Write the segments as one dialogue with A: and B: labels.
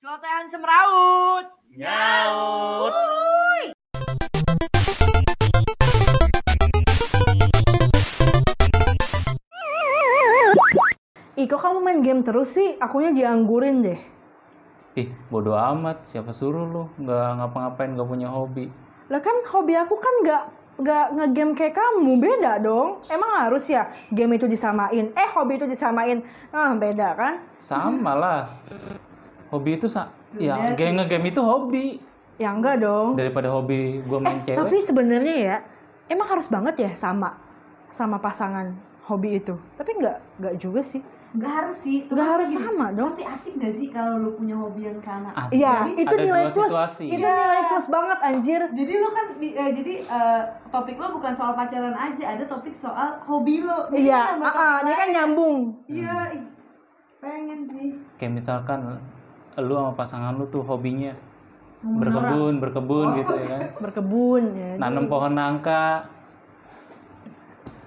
A: Kotehan semeraut.
B: Nyaut.
C: Ih kok kamu main game terus sih? Akunya dianggurin deh.
B: Ih, bodoh amat. Siapa suruh lu? Nggak ngapa-ngapain, nggak punya hobi.
C: Lah kan hobi aku kan nggak nggak ngegame kayak kamu beda dong emang harus ya game itu disamain eh hobi itu disamain ah beda kan
B: Sama lah. Hobi itu, sa ya, game ngegame itu hobi.
C: ya enggak dong
B: Daripada hobi gue
C: eh
B: main cewek.
C: tapi sebenarnya ya emang harus banget ya sama sama pasangan hobi itu tapi nggak nggak juga sih
D: Nggak harus sih.
C: nggak
D: tapi
C: harus
D: gini,
C: sama dong
D: Tapi asik gak sih kalau lu punya hobi yang sama?
B: Asik.
C: iya
B: Jadi
C: itu
B: ada
C: nilai
B: dua
C: plus
B: situasi.
C: itu
D: Iya.
C: nilai plus banget anjir
D: Jadi lu kan di- eh, jadi eh, topik lu bukan soal pacaran aja, ada topik soal hobi lu. Jadi
C: iya
D: kita nambah
C: ah, ah,
D: topik
C: dia kan
D: lain.
C: nyambung
D: Iya, ih, pengen sih.
B: Kayak misalkan lu sama pasangan lu tuh hobinya
D: Orang.
B: berkebun, berkebun gitu ya kan.
C: berkebun ya
B: Nanam pohon nangka.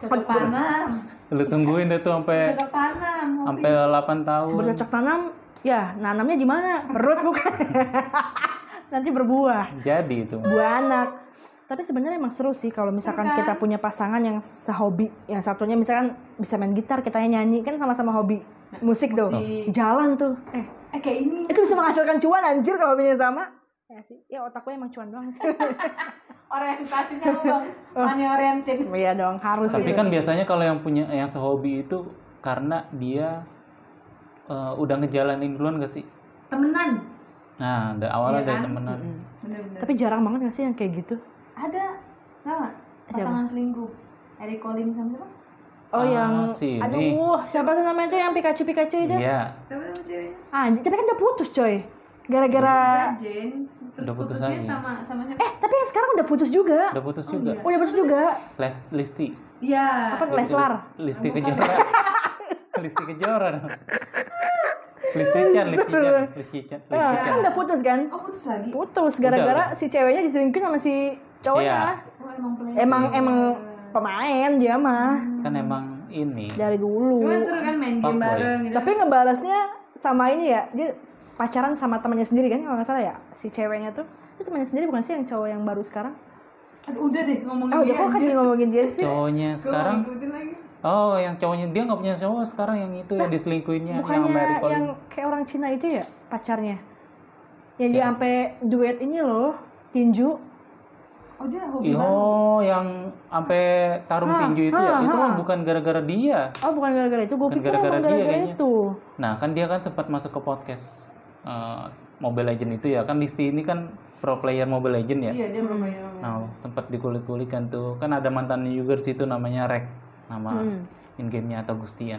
D: Cocok panam.
B: Lu tungguin deh tuh
C: Eh.
B: sampai
D: Cocok panam. hobi.
B: sampai 8 tahun.
C: bercocok tanam ya nanamnya di mana perut bukan nanti berbuah
B: Jadi itu.
C: buah anak tapi sebenarnya emang seru sih kalau misalkan
D: Iya kan?
C: kita punya pasangan yang sehobi yang satunya misalkan bisa main gitar kita nyanyi kan sama-sama hobi musik dong
D: Musik.
C: jalan tuh eh
D: Eh, kayak ini.
C: itu bisa menghasilkan cuan anjir kalau punya sama ya sih ya otakku emang cuan doang sih
D: Orientasinya lu bang,
C: Oh.
D: money oriented.
C: iya dong harus
B: Tapi
C: itu.
B: kan biasanya kalau yang punya yang sehobi itu karena dia eh, udah ngejalanin duluan gak sih?
D: Temenan.
B: Nah, da- awalnya
D: Iya
B: dari
D: kan?
B: temenan.
C: Mm-mm.
D: Bener-bener.
C: tapi jarang banget gak sih yang kayak gitu
D: Ada, tau nggak? Pasangan selingkuh. Eric Colling sama siapa?
C: oh
B: Ah,
C: yang
B: sini.
C: aduh siapa tuh namanya tuh yang Pikachu Pikachu itu
B: Iya,
D: Siapa tuh ceweknya?
C: anjir tapi kan udah putus coy
B: Iya.
C: gara-gara
D: Jane. Terus
B: Udah putus
D: putusnya
B: lagi.
D: sama sama siapa?
C: eh tapi yang sekarang udah putus juga
B: udah putus
D: Oh,
B: juga.
C: udah putus juga
B: Les, listi.
D: Iya.
C: apa Leslar
B: Listi
D: Bukan.
B: kejora. listi kejora. dong. listi Chan, Listi Chan, Listi Chan,
C: Nah,
B: Listi
C: kan
B: Chan.
C: udah putus kan?
D: Oh putus lagi?
C: Putus gara-gara si ceweknya diselingkuhin sama si cowoknya.
D: Oh emang player.
C: Emang emang pemain dia mah
B: Kan emang ini.
C: dari dulu.
D: Cuma seru kan main game
B: Fuckboy.
D: bareng gitu.
C: Tapi ngebalasnya sama ini ya, dia pacaran sama temannya sendiri kan kalau nggak salah ya si ceweknya tuh itu temannya sendiri bukan sih yang cowok yang baru sekarang?
D: Aduh, udah deh ngomongin
C: Ah udah
D: dia.
C: kok kan ngomongin dia sih?
B: Cowoknya
D: Gua
B: sekarang
D: mau ngikutin lagi.
B: Oh, yang cowoknya dia nggak punya cowok sekarang yang itu yang diselingkuhinnya yang
C: Bukannya
B: Mary
C: yang
B: Collins.
C: kayak orang Cina itu ya pacarnya? Yang dia sampai duet ini loh, tinju.
D: Oh dia hobi
B: Iya,
D: baru.
B: Oh, yang sampai tarung
C: Ah,
B: tinju itu ya,
C: ah,
B: itu
C: ah.
B: mah bukan gara-gara dia.
C: Oh bukan gara-gara itu, gue
B: Bukan
C: pikir
B: gara-gara
C: emang
B: dia
C: gara-gara
B: kayaknya.
C: itu.
B: Nah, kan dia kan sempat masuk ke podcast eh, Mobile Legend itu ya. Kan Listi ini kan pro player Mobile Legend ya.
D: Iya dia bermain bermain.
B: Nah, sempat dikulik-kulikan tuh. Kan ada mantannya juga di situ namanya Rek. Nama
C: Hmm.
B: in game-nya atau Gustian.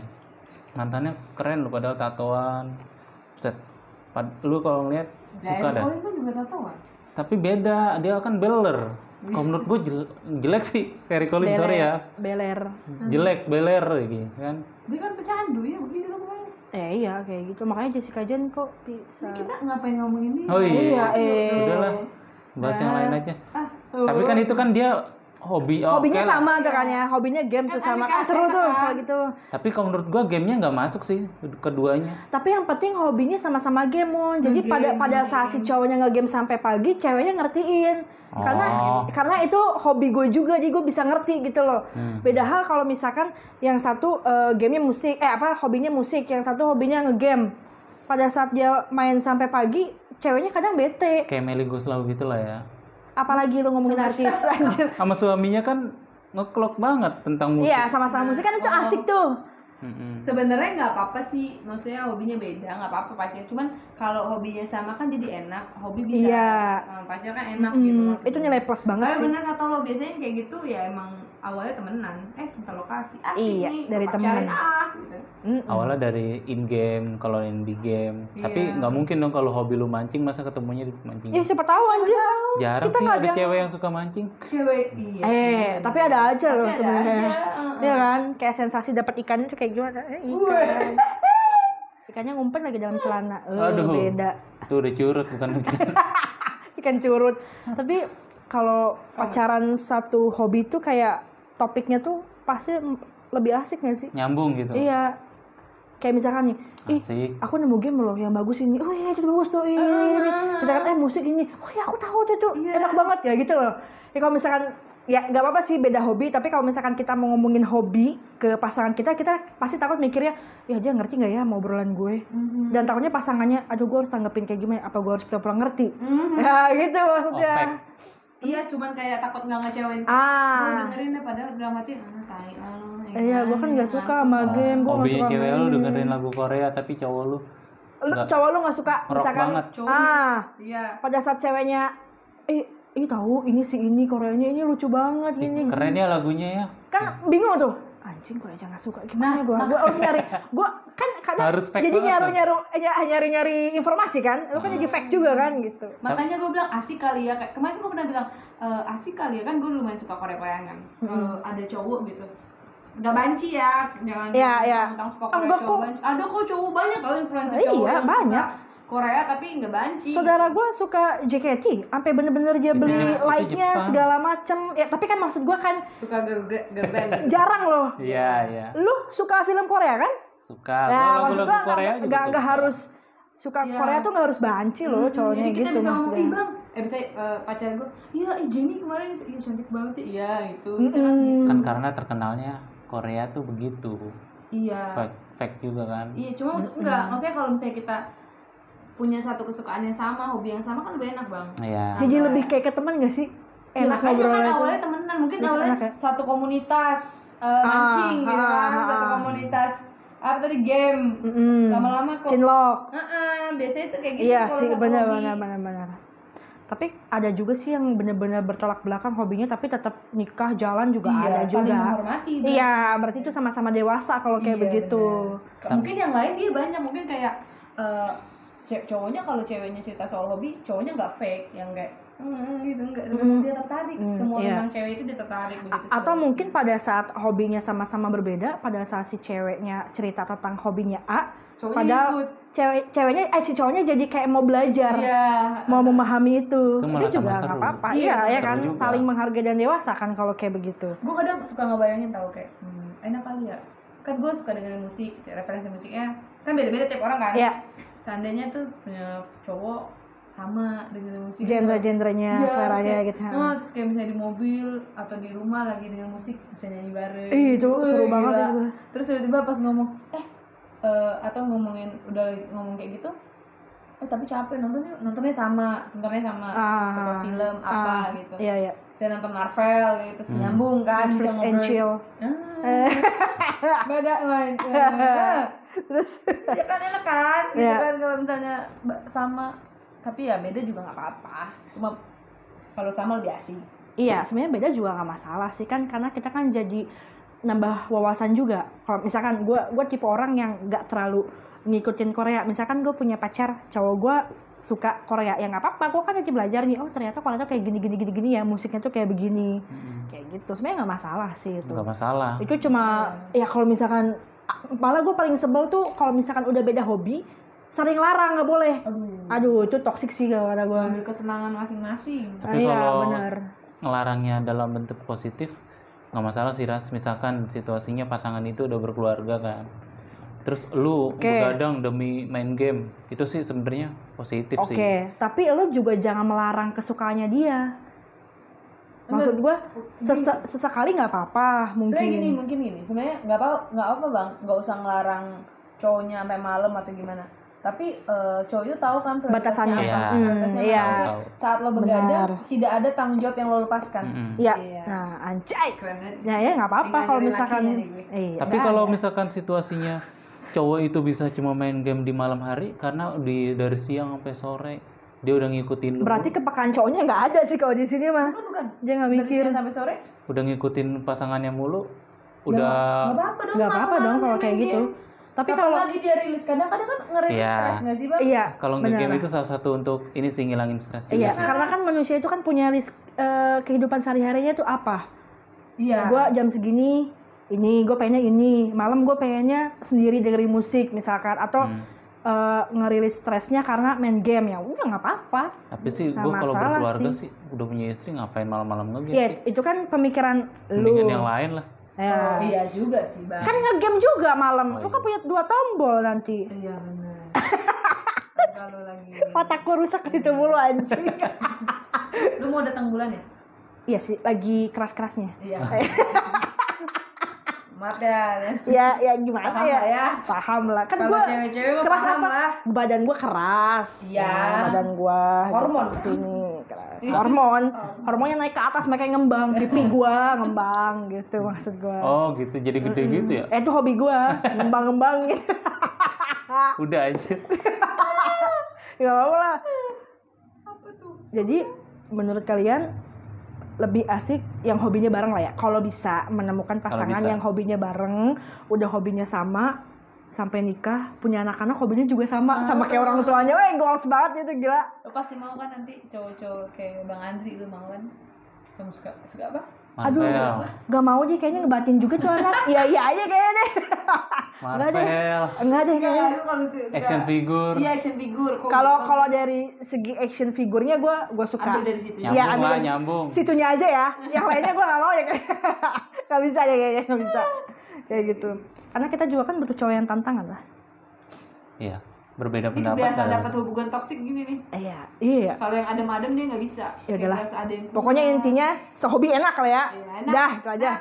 B: Mantannya keren loh padahal tatoan. Set. Pad- lu kalau ngeliat suka
D: Dan
B: dah.
D: Colin kan juga tatoan.
B: Tapi beda, dia kan beler. Kalau menurut gue jelek sih Terry Collins, sorry ya.
C: Beler.
B: Jelek, beler gitu kan.
D: Dia kan pecandu ya begitu dong gue.
C: Eh iya kayak gitu. Makanya Jessica Jen kok bisa.
D: Kita ngapain ngomongin dia?
B: Oh iya.
C: eh. oh.
B: Udahlah. Bahas yang lain aja.
D: Ah,
B: Tapi kan itu kan dia hobi. oh, oke
C: Hobinya
B: lah.
C: sama tuh kan ya. Hobinya game tuh
D: Kan
C: sama.
D: aneh
C: Kan
D: kan,
C: seru
D: kan,
C: tuh
D: kan.
C: kalau gitu.
B: Tapi kalau menurut gua gamenya nggak masuk sih keduanya.
C: Tapi yang penting hobinya sama-sama game, Mon. Jadi
D: Nge-game,
C: pada pada saat si
D: Mm-hmm.
C: cowoknya nge-game sampai pagi, ceweknya ngertiin. Karena
B: Oh.
C: karena itu hobi gue juga, jadi gue bisa ngerti gitu loh.
B: Hmm.
C: Beda hal kalau misalkan yang satu eh, gamenya musik, eh apa hobinya musik, yang satu hobinya nge-game. Pada saat dia main sampai pagi, ceweknya kadang bete.
B: Kayak Melly Goslaw gitu lah ya.
C: Apalagi lu ngomongin artis anjir.
B: Sama suaminya kan ngeklok banget tentang musik.
C: Iya, sama-sama musik kan itu
D: Oh.
C: asik tuh.
B: Mm-mm.
D: Sebenarnya nggak apa-apa sih, maksudnya hobinya beda, nggak apa-apa pacar. Cuman kalau hobinya sama kan jadi enak, hobi bisa
C: Iya.
D: sama pacar kan enak gitu.
C: Hmm,
D: maksudnya.
C: itu nilai plus banget
D: Tapi
C: sih.
D: bener kata lo biasanya yang kayak gitu ya emang awalnya temenan, eh cinta lokasi, ah
C: Iya,
D: sini,
C: dari
D: pacaran,
C: temen.
D: ah gitu.
C: Mm-mm.
B: Awalnya dari in game, kalau yang di game. Tapi
D: Iya.
B: nggak mungkin dong kalau hobi lu mancing masa ketemunya di mancing.
C: Ya siapa tahu anjir.
B: Jarang
C: kita
B: sih
C: nggak
B: ada
C: ada yang-
B: cewek yang suka mancing.
D: Cewek, iya.
C: Eh,
D: sih.
C: tapi ada aja
D: Tapi
C: loh
D: ada
C: sebenarnya.
D: aja, uh-uh.
C: Iya kan? Kayak sensasi dapat ikannya tuh kayak gimana? Eh, ikan. Ikannya ngumpet lagi dalam celana. Eh,
B: Aduh.
C: beda.
B: Itu udah curut bukan ikan.
C: Ikan curut. Tapi kalau pacaran satu hobi tuh kayak topiknya tuh pasti m- lebih asik gak sih?
B: nyambung gitu.
C: Iya. kayak misalkan nih ih
B: asik
C: aku nemu game loh yang bagus ini oh iya itu bagus tuh ini, ini, ini. misalkan eh musik ini oh iya aku tahu tuh tuh
D: Iya.
C: enak banget ya gitu loh ya kalau misalkan ya nggak apa-apa sih beda hobi tapi kalau misalkan kita mau ngomongin hobi ke pasangan kita kita pasti takut mikirnya ya dia ngerti nggak ya mau obrolan gue
D: Mhm.
C: dan takutnya pasangannya aduh gue harus tanggepin kayak gimana apa gue harus pura-pura ngerti
D: Mhm.
C: ya gitu maksudnya
B: Otek.
D: Iya, cuman kayak takut nggak ngecewain. Gue
C: ah
D: dengerin deh, padahal dalam hati, ah, tai ah, lu. ya
C: iya
D: kan,
C: gue kan nggak
D: gitu
C: suka sama game gue nggak
B: Oh. hobinya
C: suka
B: cewek
C: main.
B: lu dengerin lagu Korea tapi cowok lu
C: lu
B: nggak-
C: cowok lu nggak suka
B: rock
C: misalkan
B: banget
D: Cowok.
C: ah
D: Iya.
C: pada saat ceweknya eh ini tahu ini si ini Koreanya ini lucu banget
B: Ih,
C: ini gitu."
B: keren ya lagunya ya
C: kan bingung tuh anjing gue aja gak suka gimana
D: Nah,
C: gue gue harus nyari gue kan kadang
B: Harus fake
C: jadi
B: banget Ah.
C: nyaru nyaru nyari nyari informasi kan lu kan jadi fact juga kan gitu
D: Makanya gue bilang asik kali ya. Kayak Kemarin gue pernah bilang "Eh, asik kali ya kan gue lumayan suka Korea Koreaan kan.
C: Mm-hmm.
D: Kalau ada cowok gitu. Gak banci ya, jangan
C: Iya, iya.
D: tentang suka
C: Ah,
D: Korea
C: enggak
D: cowok banci. Ada kok cowok banyak loh influencer
C: Iya,
D: cowok yang suka
C: banyak.
D: Korea tapi nggak banci.
C: saudara gue suka JKT sampai bener-bener dia
B: Itu
C: beli
B: Jep- itu
C: like-nya
B: Jepang.
C: segala macem ya tapi kan maksud gue kan
D: suka gerbe- gerben. gitu.
C: jarang loh
B: iya iya
C: lu suka film Korea kan
B: suka
C: nah
B: gua
C: maksud
B: lagu-lagu
C: gue
B: Korea juga
C: nggak
B: suka.
C: nggak harus suka
D: Iya.
C: Korea tuh nggak harus banci loh
D: Hmm,
C: cowoknya
D: jadi kita
C: gitu
D: bisa ngomong, "Ih,
C: maksudnya
D: bang, eh bisa eh, pacar gue, iya ih, Jenny kemarin itu, iya cantik banget ya, iya gitu,
C: Hmm.
D: Misalkan
C: Mm-mm.
B: kan karena terkenalnya Korea tuh begitu
D: iya,
B: fake fake juga kan
D: iya, cuma maksud-
C: Hmm.
D: enggak, maksudnya kalau misalnya kita punya satu kesukaan yang sama, hobi yang sama kan lebih enak bang,
B: iya
C: Jadi lebih kayak ke teman gak sih?
D: Iya,
C: Enak
D: makanya
C: ngobrolnya
D: kan
C: Eh, tuh.
D: awalnya temenan, mungkin
C: Iya,
D: awalnya
C: enak ya.
D: satu komunitas eh, mancing gitu
C: ah,
D: kan,
C: ah,
D: satu
C: ah.
D: komunitas apa tadi game,
C: Mm-mm.
D: lama-lama kok,
C: Cinlok.
D: Heeh, biasanya tuh kayak gitu
C: Iya
D: kalau
C: sih,
D: satu
C: benar
D: hobi.
C: benar benar benar. Tapi ada juga sih yang benar-benar bertolak belakang hobinya tapi tetap nikah jalan juga
D: Iya,
C: ada
D: saling
C: juga.
D: menghormati, Bang.
C: Iya, berarti itu sama-sama dewasa kalau kayak
D: Iya,
C: begitu.
D: Ke- mungkin yang lain dia banyak mungkin kayak eh, ce- cowoknya kalau ceweknya cerita soal hobi cowoknya nggak fake yang kayak "Hmm, gitu nggak
C: Mm-mm.
D: dia tertarik
C: Mm,
D: semua
C: iya.
D: tentang cewek itu dia tertarik
C: A-
D: begitu
C: atau
D: segala.
C: mungkin pada saat hobinya sama-sama berbeda, pada saat si ceweknya cerita tentang hobinya A,
D: Cowoknya
C: padahal
D: ikut.
C: cewek ceweknya eh si cowoknya jadi kayak mau belajar.
D: iya
C: mau memahami itu
B: Itu
C: itu,
B: malah
C: juga
B: tambah
C: nggak
B: seru.
C: apa-apa
D: Iya,
C: iya ya
B: seru
C: kan
B: juga.
C: saling menghargai dan dewasa kan kalau kayak begitu
D: gue kadang suka ngebayangin tau kayak "Hmm, enak kali ya kan gue suka dengerin musik referensi musiknya kan beda-beda tiap orang kan
C: ya
D: seandainya tuh punya cowok sama dengerin musik
C: genre-genrenya
D: Iya,
C: seleranya
D: terus
C: gitu
D: kayak, "Ah," terus kayak misalnya di mobil atau di rumah lagi dengan musik bisa nyanyi bareng gitu.
C: Ih, itu seru
D: Wih,
C: banget gitu.
D: gila.
C: itu.
D: terus tiba-tiba pas ngomong eh eh, atau ngomongin udah ngomong kayak gitu eh tapi capek nonton yuk nontonnya sama nontonnya sama
C: Ah,
D: suka film apa
C: ah,
D: gitu
C: iya iya
D: saya nonton Marvel gitu terus
B: Hmm.
D: nyambung kan
C: Netflix
D: bisa
C: and
D: ngobrol
C: chill
D: Ah, beda lain eh,
C: terus
D: ya kan enak kan gitu
C: Iya.
D: kan kalau misalnya ba- sama tapi ya beda juga nggak apa-apa cuma kalau sama lebih asik
C: iya sebenarnya beda juga nggak masalah sih kan karena kita kan jadi nambah wawasan juga kalau misalkan gue gue tipe orang yang nggak terlalu ngikutin Korea misalkan gue punya pacar cowok gue suka Korea ya nggak apa-apa gue kan jadi belajar nih oh ternyata Korea tuh kayak gini gini gini gini ya musiknya tuh kayak begini
B: Mm-mm.
C: kayak gitu sebenarnya nggak masalah sih itu
B: nggak masalah
C: itu cuma ya kalau misalkan malah gue paling sebel tuh kalau misalkan udah beda hobi sering larang nggak boleh
D: aduh
C: aduh itu toksik sih kalau kata gue
D: ambil kesenangan masing-masing
B: Hmm. Tapi
C: iya
B: kalau-
C: benar
B: ngelarangnya dalam bentuk positif nggak masalah sih ras misalkan situasinya pasangan itu udah berkeluarga kan terus lu
C: Oke.
B: begadang demi main game itu sih sebenarnya positif
C: oke
B: sih
C: tapi lo juga jangan melarang kesukaannya dia maksud gue sesekali nggak apa-apa
D: sebenarnya gini
C: mungkin
D: mungkin gini sebenarnya nggak apa nggak apa bang nggak usah ngelarang cowoknya sampai malam atau gimana tapi eh, cowok itu tahu kan prioritasnya
C: Batasannya.
D: apa,
B: Iya.
D: prioritasnya
C: Hmm, iya.
D: apa. Maksudnya, saat lo begadang tidak ada tanggung jawab yang lo lepaskan
B: Mm-mm.
C: ya
D: Iya.
C: nah anjay
D: keren banget
C: ya ya nggak apa-apa
D: Tinggal
C: kalau
D: nyari
C: misalkan
D: lakinya nih gue.
C: iya,
B: tapi
C: nggak
B: kalau
C: ada.
B: misalkan situasinya cowok itu bisa cuma main game di malam hari karena di dari siang sampai sore dia udah ngikutin lu
C: berarti kepekaan cowoknya nggak ada sih kalau di sini mah
D: bukan Kan bukan
C: dia nggak
D: Dari
C: mikir
D: siang sampai sore Ya,
B: udah ngikutin pasangannya mulu
D: nggak
B: udah
D: apa-apa dong
C: Ya, nggak apa-apa
D: malam-malam
C: dong kalau
D: main
C: kayak
D: game.
C: gitu tapi
D: Kapan
C: kalau
D: lagi dia rilis kadang-kadang kan ngerilis
B: Iya.
D: stres nggak sih bang
C: iya
B: kalau
C: benar.
B: nge-game itu salah satu untuk ini sih ngilangin stres juga
C: Iya,
D: Nah.
B: sih.
C: karena kan manusia itu kan punya list eh, kehidupan sehari-harinya tuh apa?
D: iya
C: Gua jam segini ini, gue pengennya ini, malam gue pengennya sendiri dengerin musik misalkan atau
B: Hmm.
C: eh, ngerilis stresnya karena main game ya udah nggak apa-apa.
B: tapi sih
C: Nggak
B: gue kalau
C: masalah
B: berkeluarga
C: sih.
B: Iya sih. udah punya istri ngapain malam-malam nge-game
C: Ya
B: sih
C: itu kan pemikiran
B: mendingan
C: lu.
B: yang lain lah
C: Ya.
A: Oh, iya juga sih bang.
C: Kan ngegame juga malam.
B: Oh,
C: Lu
B: iya.
C: kan punya dua tombol nanti.
A: Iya benar. Kalau lagi.
C: Otak gua rusak ke situ mulu anjing.
D: Lu mau datang bulan ya?
C: iya sih, lagi keras-kerasnya.
A: Iya. Maaf ya.
C: Ya, ya gimana
A: Paham
C: ya?
A: lah ya.
C: Paham lah. Kan
A: Kalau
C: gua
A: cewek-cewek mah
C: keras
A: paham
C: apa?
A: lah.
C: badan gua keras.
A: Iya.
C: Ya, badan gua
A: Hormon.
C: gitu sini keras. Hormon. Hormonnya naik ke atas makanya ngembang pipi gua ngembang gitu maksud gua.
B: Oh gitu, jadi gede gitu ya?
C: Eh itu hobi gua, ngembang-ngembang gitu.
B: Udah aja.
C: Gak Ya, apa-apa lah. Jadi menurut kalian lebih asik yang hobinya bareng lah ya. Kalau bisa menemukan pasangan
B: bisa.
C: yang hobinya bareng, udah hobinya sama sampai nikah, punya anak-anak hobinya juga sama sama kayak orang tuanya. Weh, goals banget itu gila.
A: Lo pasti mau kan nanti cowok-cowok kayak Bang Andri itu mau kan? Kamu suka, suka apa?
C: Aduh,
B: Mantel,
C: gak mau deh kayaknya ngebatin juga tuh anak. Iya iya aja kayaknya deh. Nggak deh.
B: Marvel,
C: Enggak deh
D: Enggak,
C: kayaknya.
D: lu kalau suka
B: action figure,
D: Iya, action figure. Kok-
C: Kalau
D: kok-
C: kalau dari segi action figurnya gue gue suka.
D: ambil dari situ.
C: Iya,
B: nyambung
C: ambil
B: lah
C: dari-
B: nyambung.
C: situnya aja ya yang lainnya gue gak mau ya gak bisa ya kayaknya gak bisa kayak gitu karena kita juga kan butuh cowok yang tantangan lah
B: Iya, berbeda
D: Ini
B: pendapat
D: biasa
B: lah.
D: dapat hubungan toksik gini nih.
C: iya iya
D: Kalau yang adem-adem dia nggak bisa.
C: Ya
D: Kayak
C: udahlah.
D: harus ada yang keluar.
C: pokoknya intinya sehobi enak lah ya
D: Iya, enak.
C: dah itu aja
D: Enak.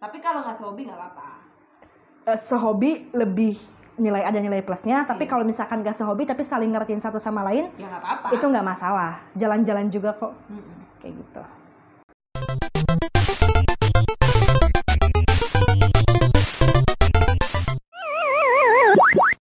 D: Tapi kalau nggak sehobi nggak apa-apa.
C: Eh, sehobi lebih nilai ada nilai plusnya
D: Iya.
C: tapi kalau misalkan gak sehobi tapi saling ngertiin satu sama lain
D: Ya nggak apa-apa.
C: itu nggak masalah jalan-jalan juga kok
D: Mm-mm.
C: kayak gitu